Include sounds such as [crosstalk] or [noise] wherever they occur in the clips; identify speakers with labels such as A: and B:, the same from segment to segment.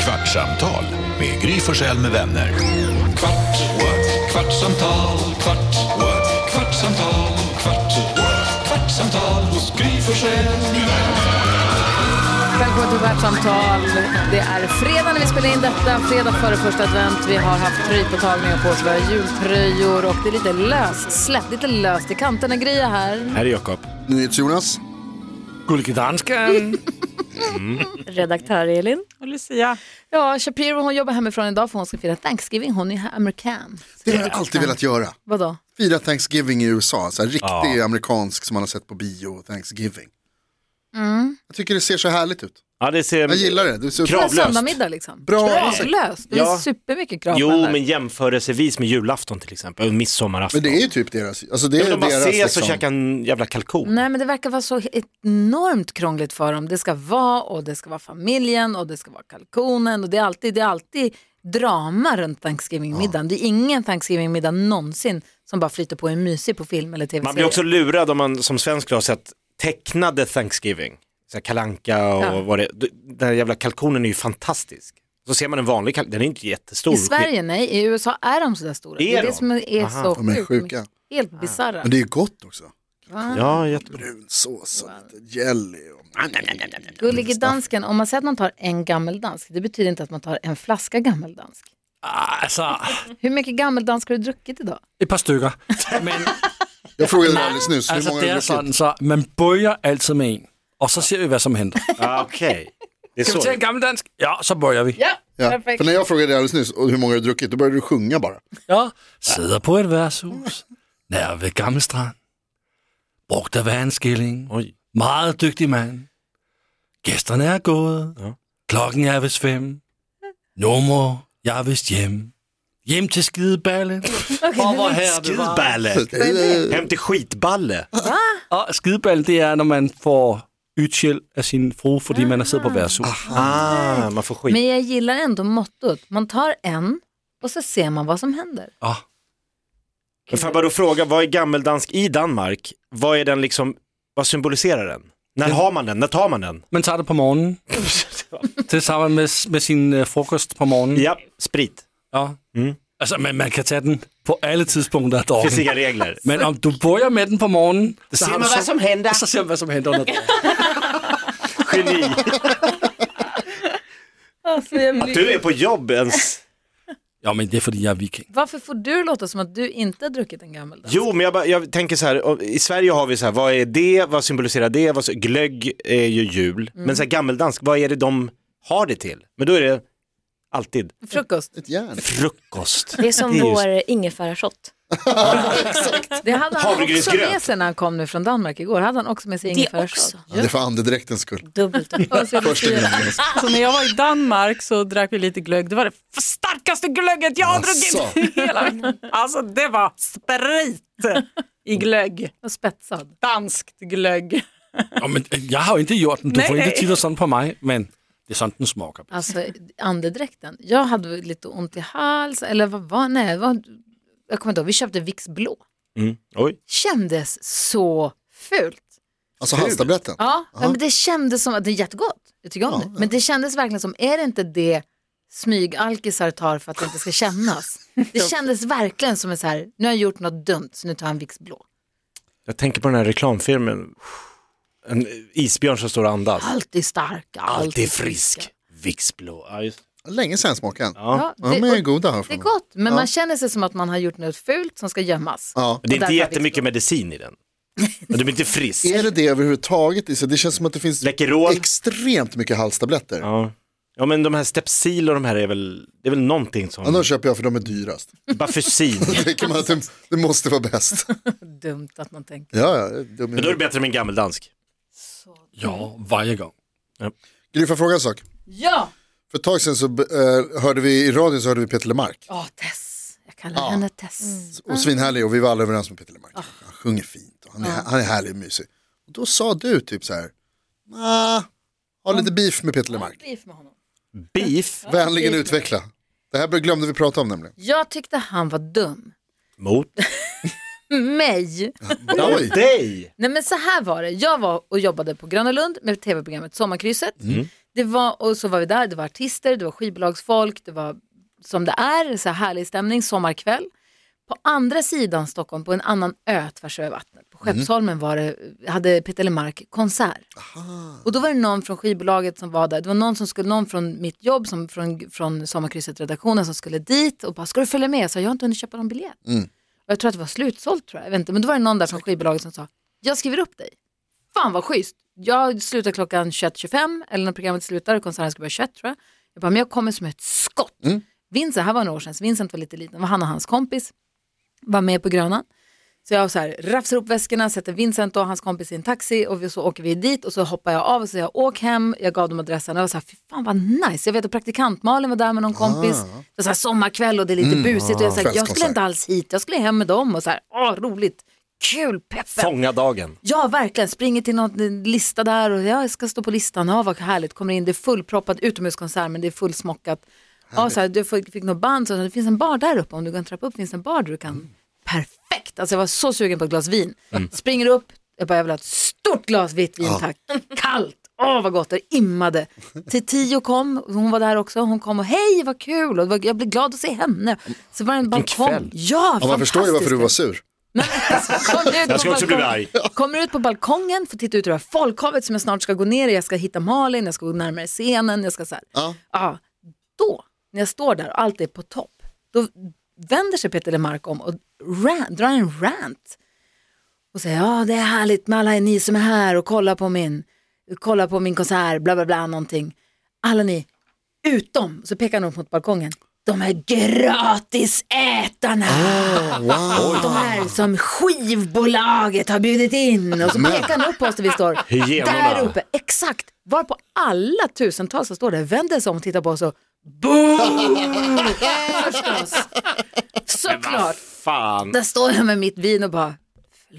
A: Kvartsamtal med Gry Forssell med vänner. Kvart, what? kvartsamtal, kvart, what? kvartsamtal, kvart, what? kvartsamtal hos Gry Forssell med vänner.
B: Välkommen till Kvartsamtal. Det är fredag när vi spelar in detta. Fredag före första advent. Vi har haft tröjpåtagningar på oss. Vi har jultröjor och det är lite löst släppt, lite löst i kanterna. Gry är här.
C: Här är Jakob.
D: NyhetsJonas.
C: Gulkedansken.
E: redaktör Elin.
F: Och Lucia.
B: Ja, Shapiro hon jobbar hemifrån idag för hon ska fira Thanksgiving. Hon är här amerikan.
D: Det har jag alltid velat göra.
B: Vadå?
D: Fira Thanksgiving i USA, så här riktig amerikansk som man har sett på bio, Thanksgiving.
B: Mm.
D: Jag tycker det ser så härligt ut.
C: Ja, det ser...
D: Jag gillar det. det ser
C: Krav- Kravlöst.
B: Söndagmiddag liksom.
D: Bra.
B: Kravlöst. Det är
C: Ja.
B: supermycket krav på den
C: Jo,
B: där.
C: men jämförelsevis med julafton till exempel, och midsommarafton.
D: Men det är ju typ deras, alltså det
C: Ja,
D: är
C: men de bara
D: deras
C: ses
D: liksom.
C: och käkar en jävla kalkon.
B: Nej men det verkar vara så enormt krångligt för dem. Det ska vara och det ska vara familjen och det ska vara kalkonen och det är alltid, det är alltid drama runt Thanksgiving-middagen. Det är ingen Thanksgiving-middag någonsin som bara flyter på och är mysig på film eller tv-serie.
C: Man blir också lurad om man som svensk har sett tecknade Thanksgiving. Så här Kalanka och
B: Ja.
C: vad det Den här jävla kalkonen är ju fantastisk. Så ser man en vanlig kalkon, den är inte jättestor.
B: I Sverige nej, i USA är de sådär stora.
C: Är
B: det är det
C: de?
B: som är
C: Aha.
B: så
D: De är
B: sjukt.
D: sjuka.
B: Helt bisarra.
D: Men det är ju gott också.
C: Ja, jättebra.
D: Brun sås och lite jelly. Och...
B: Gullig i dansken, om man säger att man tar en gammeldansk, det betyder inte att man tar en flaska gammeldansk.
G: Alltså,
B: Hur mycket gammeldansk har du druckit idag?
G: ett par stycken. [laughs] Men
D: Jag frågade dig alldeles nyss, hur
G: alltså,
D: många
G: det är
D: har du
G: sådan,
D: druckit?
G: så man börjar alltid med en och så ser vi vad som [laughs] händer.
C: Ah, Okej, det är
G: Ska vi ta
C: så.
G: en gammeldansk? Ja, så börjar vi. Ja.
D: Ja. För när jag frågade dig alldeles nyss, och hur många har du druckit? Då började du sjunga bara.
G: Sitter på ett värdshus nära vid Gammelstrand. Brukte vara en skilling.
C: Oj.
G: Mycket duktig man. Gästerna är gått.
C: Ja.
G: Klockan är visst fem. Nummer, jag visst hem. Hem till skideballen. Och var här du var.
C: Skidballe!
D: Eh,
C: Hem till skitballe.
G: Ja, skideball Ah, det är när man får utskäll av sin fru för att man har suttit på värdshus.
C: Ah, man får skit.
B: Men jag gillar ändå mottot. Man tar en och så ser man vad som händer.
G: Ja.
C: Men får jag bara då fråga, vad är gammeldansk i Danmark? Vad är den liksom, vad symboliserar den? När har man den? När tar man den?
G: Man tager det
C: [laughs]
G: på morgenen tillsammans med, med sin øh, frokost på morgenen.
C: Ja, sprit.
G: Ja.
C: Mm.
G: Altså, men man kan tage den på alle tidspunkter af
C: Det finns
G: dagen.
C: inga
G: [laughs]
C: regler.
G: Men om du börjar med den på morgenen, så, har du så,
C: händer.
G: så ser man, hvad som händer under dagen.
C: [laughs] Geni.
E: Alltså,
B: jag
C: Att du är på jobb ens.
G: Jo, men det är fordi, jeg er viking.
B: Varför får du låta som att du inte har druckit en gammeldansk?
C: Jo, men jag, bara, jag tänker så här, och i Sverige har vi så här, vad är det, vad symboliserar det, vad, glögg är ju jul, men så här gammeldansk, vad är det de har det till? Men då är det alltid
B: Frukost.
D: Ett järn.
C: frukost.
E: Det är som
C: Det är ju-
E: vår ingefärashot.
B: Det hade han också
C: Havregrynsgröt.
B: med sig när han kom nu från Danmark igår. Hade han också med sig
E: Det
B: ingefärssås.
E: också.
D: Ja, det är för andedräktens skull.
E: Dubbelt upp.
D: Första gången.
F: Så när jag var i Danmark så drack vi lite glögg. Det var det f- starkaste glögget jag har druckit i hela veckan. Alltså det var sprit i glögg.
B: Och spetsad.
F: Danskt glögg.
G: Jo, men, øh, jeg har jo ikke gjort den. Du får
F: Nej.
C: øh,
G: ikke titta sådan på mig, men det er sådan, den smager.
B: Alltså andedräkten. Jag hade väl lite ont i halsen, eller vad var Nej, det var, jag kommer inte ihåg. Vi köpte Vicks blå.
C: Mm. Oj.
B: Kändes så fult.
D: Alltså halstabletten.
B: Ja, ja, men det kändes som att det är jättegott. Jag tycker om
D: Ja,
B: det. Men det kändes verkligen som, är det inte det smygalkisar tar för att det inte ska kännas? Det
D: [laughs]
B: kändes verkligen som en så här, nu har jag gjort något dumt så nu tar jag en Vicks blå.
C: Jag tänker på den här reklamfilmen, en isbjörn som står och andas.
B: Alltid stark, alltid,
C: Alltid frisk, Vicksblå. Ja, just-
D: Länge sedan jag smakade den.
C: Ja.
B: Ja,
D: Ja, men jag är
B: det,
D: goda här
B: det är
D: för mig.
B: gott, men man känner sig som att man har gjort något fult som ska gömmas.
D: Ja.
C: Det är
B: Och
C: inte
B: därför
C: jättemycket medicin
B: [laughs]
C: i den. Men du blir inte frisk.
D: Är det det överhuvudtaget? Issa? Det känns som att det finns
C: Läkerol.
D: extremt mycket halstabletter. Ja.
C: Ja. ja men de här Stepsil och de här är väl, det är väl någonting
D: de
C: som,
D: köper jag för de är [laughs] dyrast.
B: [laughs]
C: Bafysin.
D: Då tänker man att det, det måste vara bäst.
B: Dumt att man tänker.
D: Ja, ja. det är dum i
C: Men då är det
D: huvudet.
C: bättre med en gammeldansk.
G: Ja, varje gång.
D: Gry, får jag fråga en sak?
B: Ja!
D: För ett tag sedan så eh, hörde vi i radion så hörde vi Peter Lemark.
B: Åh, Tess. Jag kallar henne Tess.
D: Och svinhärlig och vi var alla överens med Peter Lemark. Han sjunger fint och han är, han är härlig och mysig. Och då sa du typ så här, nah, har lite beef med Peter Lemark.
B: Beef med honom.
C: Beef
D: Vänligen utveckla. Det här glömde vi prata om nämligen.
B: Jag tyckte han var dum. [laughs]
C: mot
B: Mm. Mig.
D: Oj,
C: dig.
B: Nej men så här var det, jag var och jobbade på Gröna Lund med tv-programmet Sommarkrysset. Det var, och så var vi där, det var artister, det var skivbolagsfolk, det var som det är, så här härlig stämning, sommarkväll. På andra sidan Stockholm, på en annan ö tvärs över vattnet, på Skeppsholmen var det, hade Peter Lemark konsert. Och då var det någon från skivbolaget som var där, det var någon, som skulle, någon från mitt jobb, som, från, från Sommarkrysset-redaktionen som skulle dit och bara, ska du följa med? Jag sa, jag har inte hunnit köpa någon biljett. Och jag tror att det var slutsålt, tror jag. jag vet inte. Men då var det någon där från skivbolaget som sa, jag skriver upp dig. Fan vad schysst. Jag slutar klockan 21.25 eller när programmet slutar, konserten ska börja 21 tror jag. Jag bara, men jag kommer som ett skott. Vincent, här var några år sedan, så Vincent var lite liten, Det var han och hans kompis, var med på Grönan. Så jag så här, rafsar upp väskorna, sätter Vincent och hans kompis i en taxi och vi- så åker vi dit och så hoppar jag av och så jag åk hem, jag gav dem adressen och jag var så här, fy fan vad nice. Jag vet att praktikant Malin var där med någon kompis, det var så här sommarkväll och det är lite busigt och jag, så här, jag skulle
D: Kvällskonsert.
B: inte alls hit, jag skulle hem med dem och så här, åh roligt, kul, peppen.
C: Fånga dagen.
B: Ja, verkligen. Springer till någon lista där och ja, jag ska stå på listan. Ja, vad härligt. Kommer in, det är fullproppat utomhuskonsert men det är fullsmockat. Ja, så här, du fick, fick något band, så det finns en bar där uppe. Om du går en trappa upp finns det en bar där du kan. Perfekt! Alltså jag var så sugen på ett glas vin.
D: Mm.
B: Springer upp, jag bara jag vill ha ett stort glas vitt vin tack. Kallt, åh vad gott, det immade. Till tio kom, hon var där också, hon kom och hej vad kul, och det var- jag blev glad att se henne. Så var det en balkong.
C: kväll.
B: Ja,
D: Ja, man förstår ju varför du var sur.
B: alltså, Kom ut
C: Jag ska
B: på
C: också bli
B: balkongen. Kommer ut på balkongen, får titta ut över folkhavet som jag snart ska gå ner i. Jag ska hitta Malin, jag ska gå närmare scenen. Jag ska så här.
D: Ja.
B: Ja, då, när jag står där och allt är på topp, då vänder sig Peter Lemark om och rant, drar en rant. Och säger, ja det är härligt med alla ni som är här och kollar på min, kollar på min konsert, bla bla bla någonting. Alla ni, utom, så pekar han upp mot balkongen, de här gratisätarna. [laughs] De här som skivbolaget har bjudit in och så pekar han upp på oss där vi står.
C: Hyenorna.
B: Där uppe, exakt. Varpå alla tusentals som står där vänder sig om och tittar på oss och boom! Förstås. Såklart.
C: Ah, Fan.
B: Där står jag med mitt vin och bara,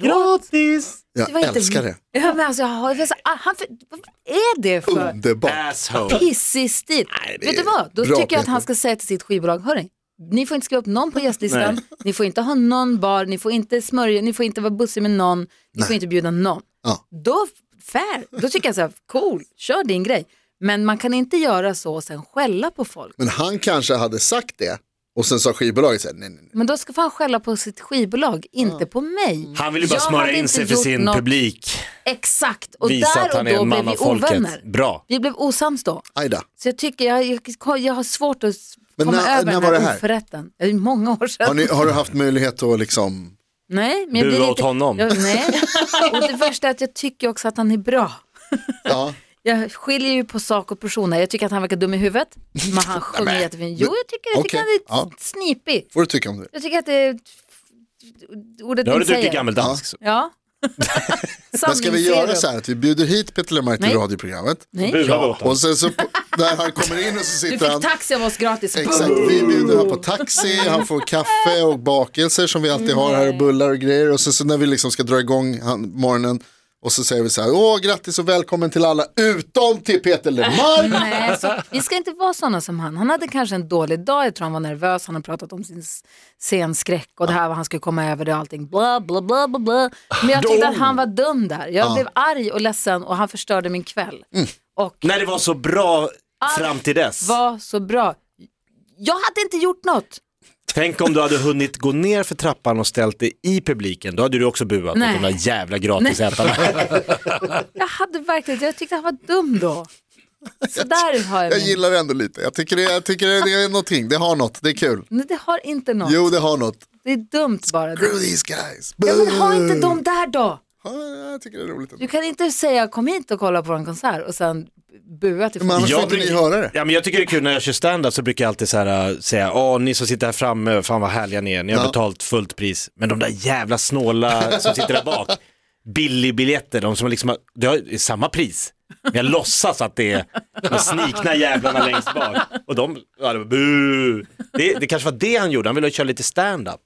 B: förlåt.
C: Gratis!
B: Det
D: Jag
B: var inte-
D: älskar det.
B: Ja, men alltså, jag har- jag vet så- ah, han för, vad är det för
D: Underbart.
C: Asshole.
B: pissig stil?
D: det
B: Vet du
D: är
B: vad, då
D: bra,
B: tycker jag att han
D: Peter.
B: ska säga till sitt skivbolag, hörni, ni får inte skriva upp någon på gästlistan, ni får inte ha någon bar, ni får inte smörja, ni får inte vara bussig med någon, ni får inte bjuda någon.
D: Ja.
B: Då, fair, då tycker jag så här, cool, kör din grej. Men man kan inte göra så och sen skälla på folk.
D: Men han kanske hade sagt det och sen sa skivbolaget så här, nej, nej, nej.
B: Men då ska han skälla på sitt skivbolag, inte på mig.
C: Mm. Han ville bara
B: Jag
C: smöra
B: hade
C: in
B: inte
C: sig för
B: gjort
C: sin
B: något.
C: publik.
B: Exakt, och
C: Visa att
B: där och
C: han är
B: då
C: en
B: blev
C: man av
B: vi
C: folket.
B: ovänner.
C: Bra.
B: Vi blev osams då.
D: Aj då.
B: Så jag tycker, jag, jag, jag har svårt att s-
D: Men
B: komma
D: när-
B: över
D: när
B: den
D: var
B: här,
D: det här?
B: oförrätten. Det är många år sedan.
D: Har, ni, har du haft möjlighet att liksom,
B: Nej, men jag
C: Bua
B: blir
C: åt
B: lite...
C: honom.
B: Jag,
C: [laughs]
B: nej, och det värsta är att jag tycker också att han är bra.
D: ja,
B: Jag skiljer ju på sak och person här. Jag tycker att han verkar dum i huvudet, men han sjunger jättefint. Jo, jag tycker, jag tycker
D: Okej,
B: han är
D: ja.
B: snipig.
D: får du tycka om det.
B: Jag tycker att det är ordet
C: Nu har
B: ni
C: du druckit
B: säger.
C: gammeldansk.
D: [laughs]
B: Ja.
D: Men ska vi göra så här att vi bjuder hit Peter Lemark till
B: Nej.
D: radioprogrammet
B: Nej.
D: och sen så på- när han kommer in och så
B: Du
D: sitter han,
B: fick taxi av oss gratis.
D: exakt, vi bjuder han på taxi, han får kaffe och bakelser som vi alltid har här och bullar och grejer och sen så när vi liksom ska dra igång han, morgonen och så säger vi så här, åh grattis och välkommen till alla utom till Peter Lemark.
B: Nej, så, vi ska inte vara sådana som han. Han hade kanske en dålig dag, jag tror han var nervös, han har pratat om sin s- scenskräck och det här vad han skulle komma över det och allting. Bla, bla, bla, bla, bla. Men jag tyckte att han var dum där. Jag blev arg och ledsen och han förstörde min kväll.
D: Mm.
B: Och
C: När det var så bra fram till dess.
B: var så bra. Jag hade inte gjort något.
C: Tänk om du hade hunnit gå ner för trappan och ställt dig i publiken. Då hade du också buat
B: Nej.
C: mot de där jävla gratisätarna.
B: Jag hade verkligen jag tyckte han var dum då. Så där har jag,
D: Jag
B: min-
D: gillar det ändå lite, jag tycker det, jag tycker det är någonting, det har något, det är kul.
B: Nej, det har inte något.
D: Jo, det har något.
B: Det är dumt bara.
D: Screw these guys.
B: Ja, men ha inte dem där då.
D: Ja, jag tycker det är roligt.
B: Du kan inte säga kom hit och kolla på en konsert och sen bua till
D: Men annars
C: Jag
D: får inte ni
C: blir-
D: höra det.
C: Ja, men jag tycker det är kul när jag kör stand-up så brukar jag alltid så här, äh, säga, åh ni som sitter här framme, fan vad härliga ni är, ni har
D: Ja.
C: betalt fullt pris. Men de där jävla snåla som sitter där bak, billigbiljetter, de som liksom har, det har- det är samma pris. Men jag låtsas att det är de snikna jävlarna längst bak. Och de, ja, det, var, "Bu." det, det kanske var det han gjorde, han ville köra lite stand-up.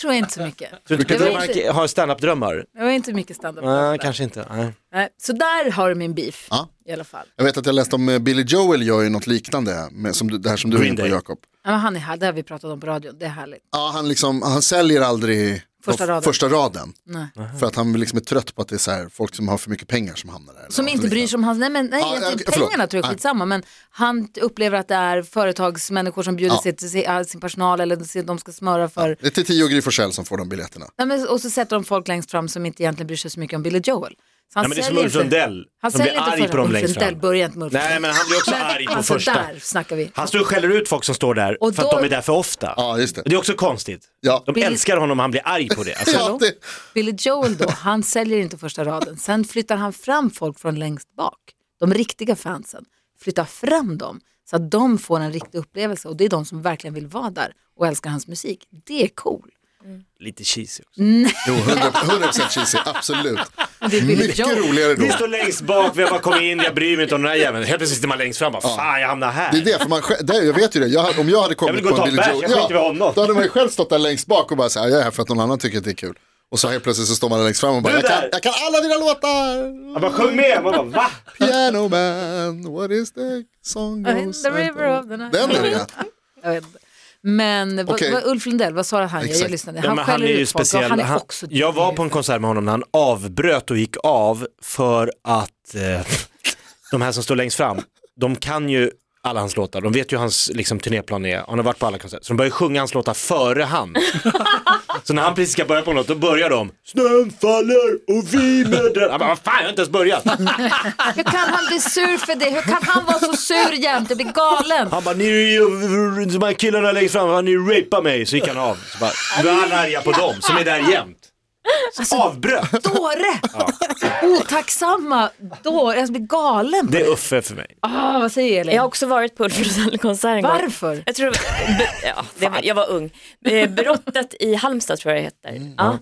B: tror jag inte så mycket.
C: Så du
B: Det var
C: inte
B: inte-
C: inte... har stand-up-drömmar?
B: Det var inte mycket standup.
C: Nej, kanske inte. Nej.
B: Nej, Så där har du min beef
D: Ja.
B: i alla fall.
D: Jag vet att jag läste om eh, Billy Joel gör ju något liknande, med, som du, det här som du är
C: Green
D: inne på
C: Day.
D: Jakob.
B: Ja, men han är här, det har vi pratat om på radion, det är härligt.
D: Ja, han, liksom, han säljer aldrig
B: Första raden.
D: första raden.
B: Nej.
D: För att han liksom är trött på att det är så här, folk som har för mycket pengar som hamnar där.
B: Som inte bryr sig om hans, nej men nej,
D: Ja,
B: jag
D: okej,
B: tycker
D: förlåt.
B: pengarna tror jag är
D: Nej.
B: skitsamma men han upplever att det är företagsmänniskor som bjuder
D: Ja.
B: sitt, sin, sin personal eller sin- de ska smöra för.
D: Det är till Tio och Gry Forssell som får de biljetterna.
B: Nej, men, och så sätter de folk längst fram som inte egentligen bryr sig så mycket om Billy Joel. Så han
C: Nej, men det är som
B: säljer
C: Ulf
B: inte-
C: Lundell.
B: Han
C: som blir
B: säljer inte
C: arg
B: för
C: på dem
B: Ulf
C: längst
B: Lundell
C: fram.
B: börjar inte med Ulf
C: Nej,
B: Lundell.
C: men han blir också
B: Men,
C: arg på
B: alltså,
C: första.
B: där snackar vi.
C: Han står och skäller ut folk som står där
B: Och
C: för att
B: då-
C: de är där för ofta.
D: Ja, just det.
C: Det är också konstigt.
D: Ja.
C: De
B: Bill-
C: älskar honom han blir arg på det. Alltså,
D: Ja, det,
B: Billy Joel då, han säljer inte första raden. Sen flyttar han fram folk från längst bak. De riktiga fansen. Flyttar fram dem så att de får en riktig upplevelse och det är de som verkligen vill vara där och älskar hans musik. Det är cool.
C: Lite cheesy också.
B: Mm.
D: jo, 100%, 100% cheesy, absolut.
B: Det är Billy
D: Mycket
B: Joel.
D: roligare då.
C: Vi står längst bak, vi har bara kommit in, jag bryr mig inte om den här jäveln. Helt plötsligt sitter man längst fram och bara, fan jag hamnar här.
D: Det är det, för man själv, det, jag vet ju det. Jag, om jag hade
C: Jag vill
D: kommit
C: gå och
D: på
C: ta
D: en
C: en
D: Billy
C: bärs, jag
D: Joel,
C: skiter i honom.
D: då hade man ju själv stått där längst bak och bara så här, jag är här för att någon annan tycker att det är kul. Och så helt plötsligt så står man där längst fram och bara,
C: Du
D: jag kan,
C: där!
D: jag kan alla dina låtar!
C: Jag bara, sjung med! Man bara, va?
D: Piano man, what is the song goes
B: The river of the night.
D: Den är det ja.
B: Jag vet inte. Men vad-
D: Okej.
B: vad, Ulf Lundell, vad sa han? Jag
D: Exakt.
B: lyssnade.
C: Ja,
B: Han
C: men han
B: skäller
C: är ju
B: ut folk och
C: speciell.
B: han är
C: Han,
B: också
C: jag var på en konsert med honom när han avbröt och gick av för att eh, de här som står längst fram, de kan ju alla hans låtar, de vet ju hur hans liksom, turnéplan är, han har varit på alla konserter, så de börjar sjunga hans låtar
B: [laughs]
C: före han. så när han precis ska börja på något, då börjar de, snön faller och vi med den. Han bara, vad fan, jag har inte ens börjat.
B: Hur kan han bli sur för det? Hur kan han vara så sur jämt? Jag blir galen.
C: Han bara, ni är ju, de här killarna längst fram, han ni rapar mig, så gick han av. Så bara, nu är han arga på dem som är där jämt.
B: Alltså-
C: Så avbröt.
B: Dåre! Otacksamma dåre. Jag blir galen.
C: Det är Uffe för mig.
B: Ah, vad säger Elin?
E: [laughs] Jag har också varit på Ulf Lundell-konsert en gång.
B: Varför?
E: Jag, tror, b- ja, det var, jag var ung. Eh, Brottet i Halmstad tror jag det heter. Ja.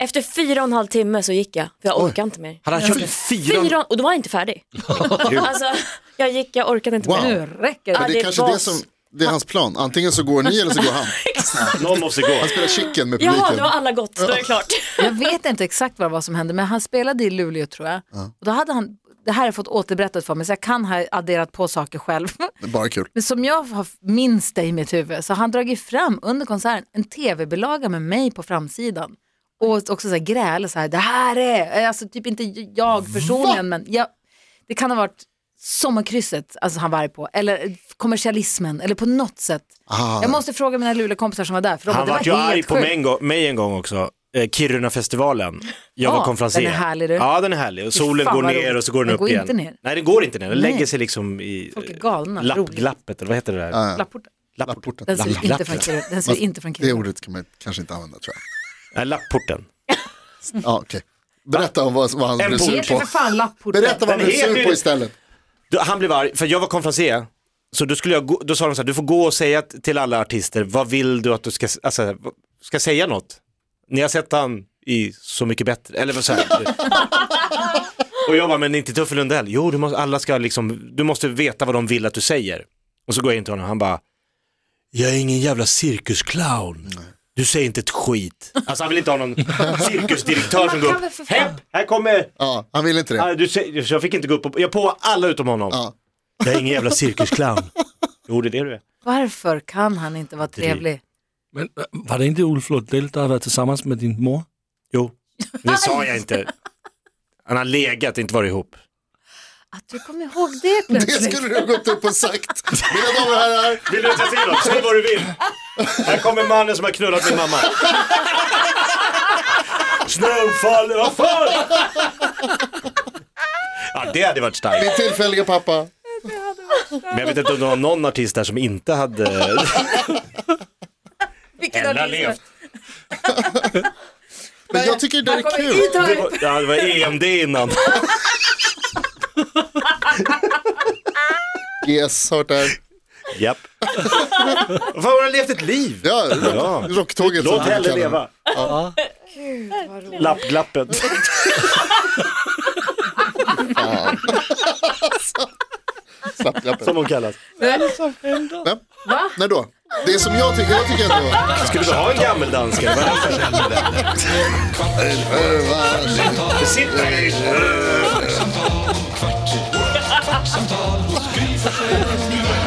E: Efter fyra och en halv timme så gick jag, för jag orkade inte mer.
C: Han har kört fyra...
E: Fyra, och då var jag inte färdig. alltså, jag gick, jag orkade inte
D: Wow.
E: mer.
B: Nu räcker det.
E: Ja,
D: Men det är
E: det
D: kanske
E: var-
D: det som, det är hans plan. Antingen så går ni eller så går han.
C: Någon måste gå.
B: Alltså,
D: Han spelar chicken med
E: Jaha, nu
D: publiken.
E: har alla gått, då är det klart.
B: Jag vet inte exakt vad, vad som hände, men han spelade i Luleå tror jag. Och då hade han, det här har jag fått återberättat för mig, så jag kan ha adderat på saker själv. [laughs]
D: Bara kul.
B: Men som jag har minns det i mitt huvud så har han dragit fram under konserten en tv-bilaga med mig på framsidan. Och också så här gräl, så här, det här är, alltså typ inte jag personligen men jag, det kan ha varit sommarkrysset alltså han var arg på, eller kommersialismen, eller på något sätt.
D: Ah,
B: Jag måste fråga mina Luleåkompisar som var där, för de
C: Han
B: bara,
C: var
B: det
C: ju
B: var
C: arg
B: helt
C: på mig
B: sjukt."
C: en, gång, mig en gång också. Eh, Kiruna-festivalen. Jag
B: Ja,
C: var konferencier.
B: den är härlig, du.
C: Ja, den är härlig. Och
B: Fy
C: solen
B: fan,
C: går
B: vad
C: ner
B: roligt.
C: och så går den
B: Den
C: upp
B: går
C: igen.
B: inte ner.
C: Nej, den går inte ner. Den
B: Nej.
C: lägger sig liksom i
B: Folk är galna,
C: eh,
B: roligt.
C: lappglappet, eller vad heter det där?
D: ja.
B: Lapporten.
C: Lapporten.
B: Den ser inte
C: Lapporten.
B: från Kiruna. Den ser inte från
D: Det
B: Kiruna.
D: ordet kan man kanske inte använda tror jag.
C: Nej, lapporten.
D: Ja, okej. Berätta om vad, vad han
C: En
D: blev
C: bok.
B: Det
D: sur
B: heter
D: på.
B: för fan Lapporten.
D: Berätta vad han
C: Den
D: blev sur
C: heter
D: på
C: ju-
D: istället.
C: Då- Han blev arg, för jag var konferencier. Så då, skulle jag gå, då sa de så här, du får gå och säga t- till alla artister, vad vill du att du ska, alltså, vad- ska säga något? Ni har sett han i Så mycket bättre, eller vad så här. och jag bara, men inte Tuffe Lundell. Jo, du måste, alla ska liksom, du måste veta vad de vill att du säger. Och så går jag in till honom, han bara, jag är ingen jävla cirkusclown. Du säger inte ett skit. Alltså han vill inte ha någon cirkusdirektör som går
B: kan väl för
C: upp,
B: fan-
C: hepp, här kommer
D: Ja, han vill inte det.
C: Ah, du, sä- så jag fick inte gå upp och, jag på alla utom honom.
D: Ja.
C: Jag är ingen jävla cirkusclown. jo det är det du är.
B: Varför kan han inte vara trevlig?
G: Men øh, var det inte Ulf Lundell, der har været tilsammens med din mor?
C: Jo, det sa jag inte. Han har legat, inte varit ihop.
B: Att du kommer ihåg det
D: Det
B: plötsligt.
D: skulle du ha gått upp och sagt. Mina damer och herrar,
C: Vill du inte se något? Säg vad du vill. Här kommer mannen som har knullat min mamma. Snön faller, vad fan! Ja det hade varit starkt.
D: min tillfälliga pappa.
C: Men jag vet inte om det var någon artist där som inte hade...
B: Vilken
C: Ella
B: artist.
C: levt.
D: Men jag tycker det där är kul.
C: Det var, ja, det var EMD innan.
D: Yes, hört det här.
C: [laughs] Japp. Vad fan, hon har levt ett liv.
D: Ja,
C: Ja.
D: rock, rocktåget. som
C: Låt
D: vi
C: hellre
D: kallar det.
C: leva. Lappglappet.
D: Slapp, slapp.
C: Som hon kallas.
D: Vem? När då? Det är som jag tycker, jag tycker ändå.
C: Skulle vi ha en gammeldansk? eller vad är det för- Det sitter-
A: Kvartsamtal hos Gry Forssell med vänner.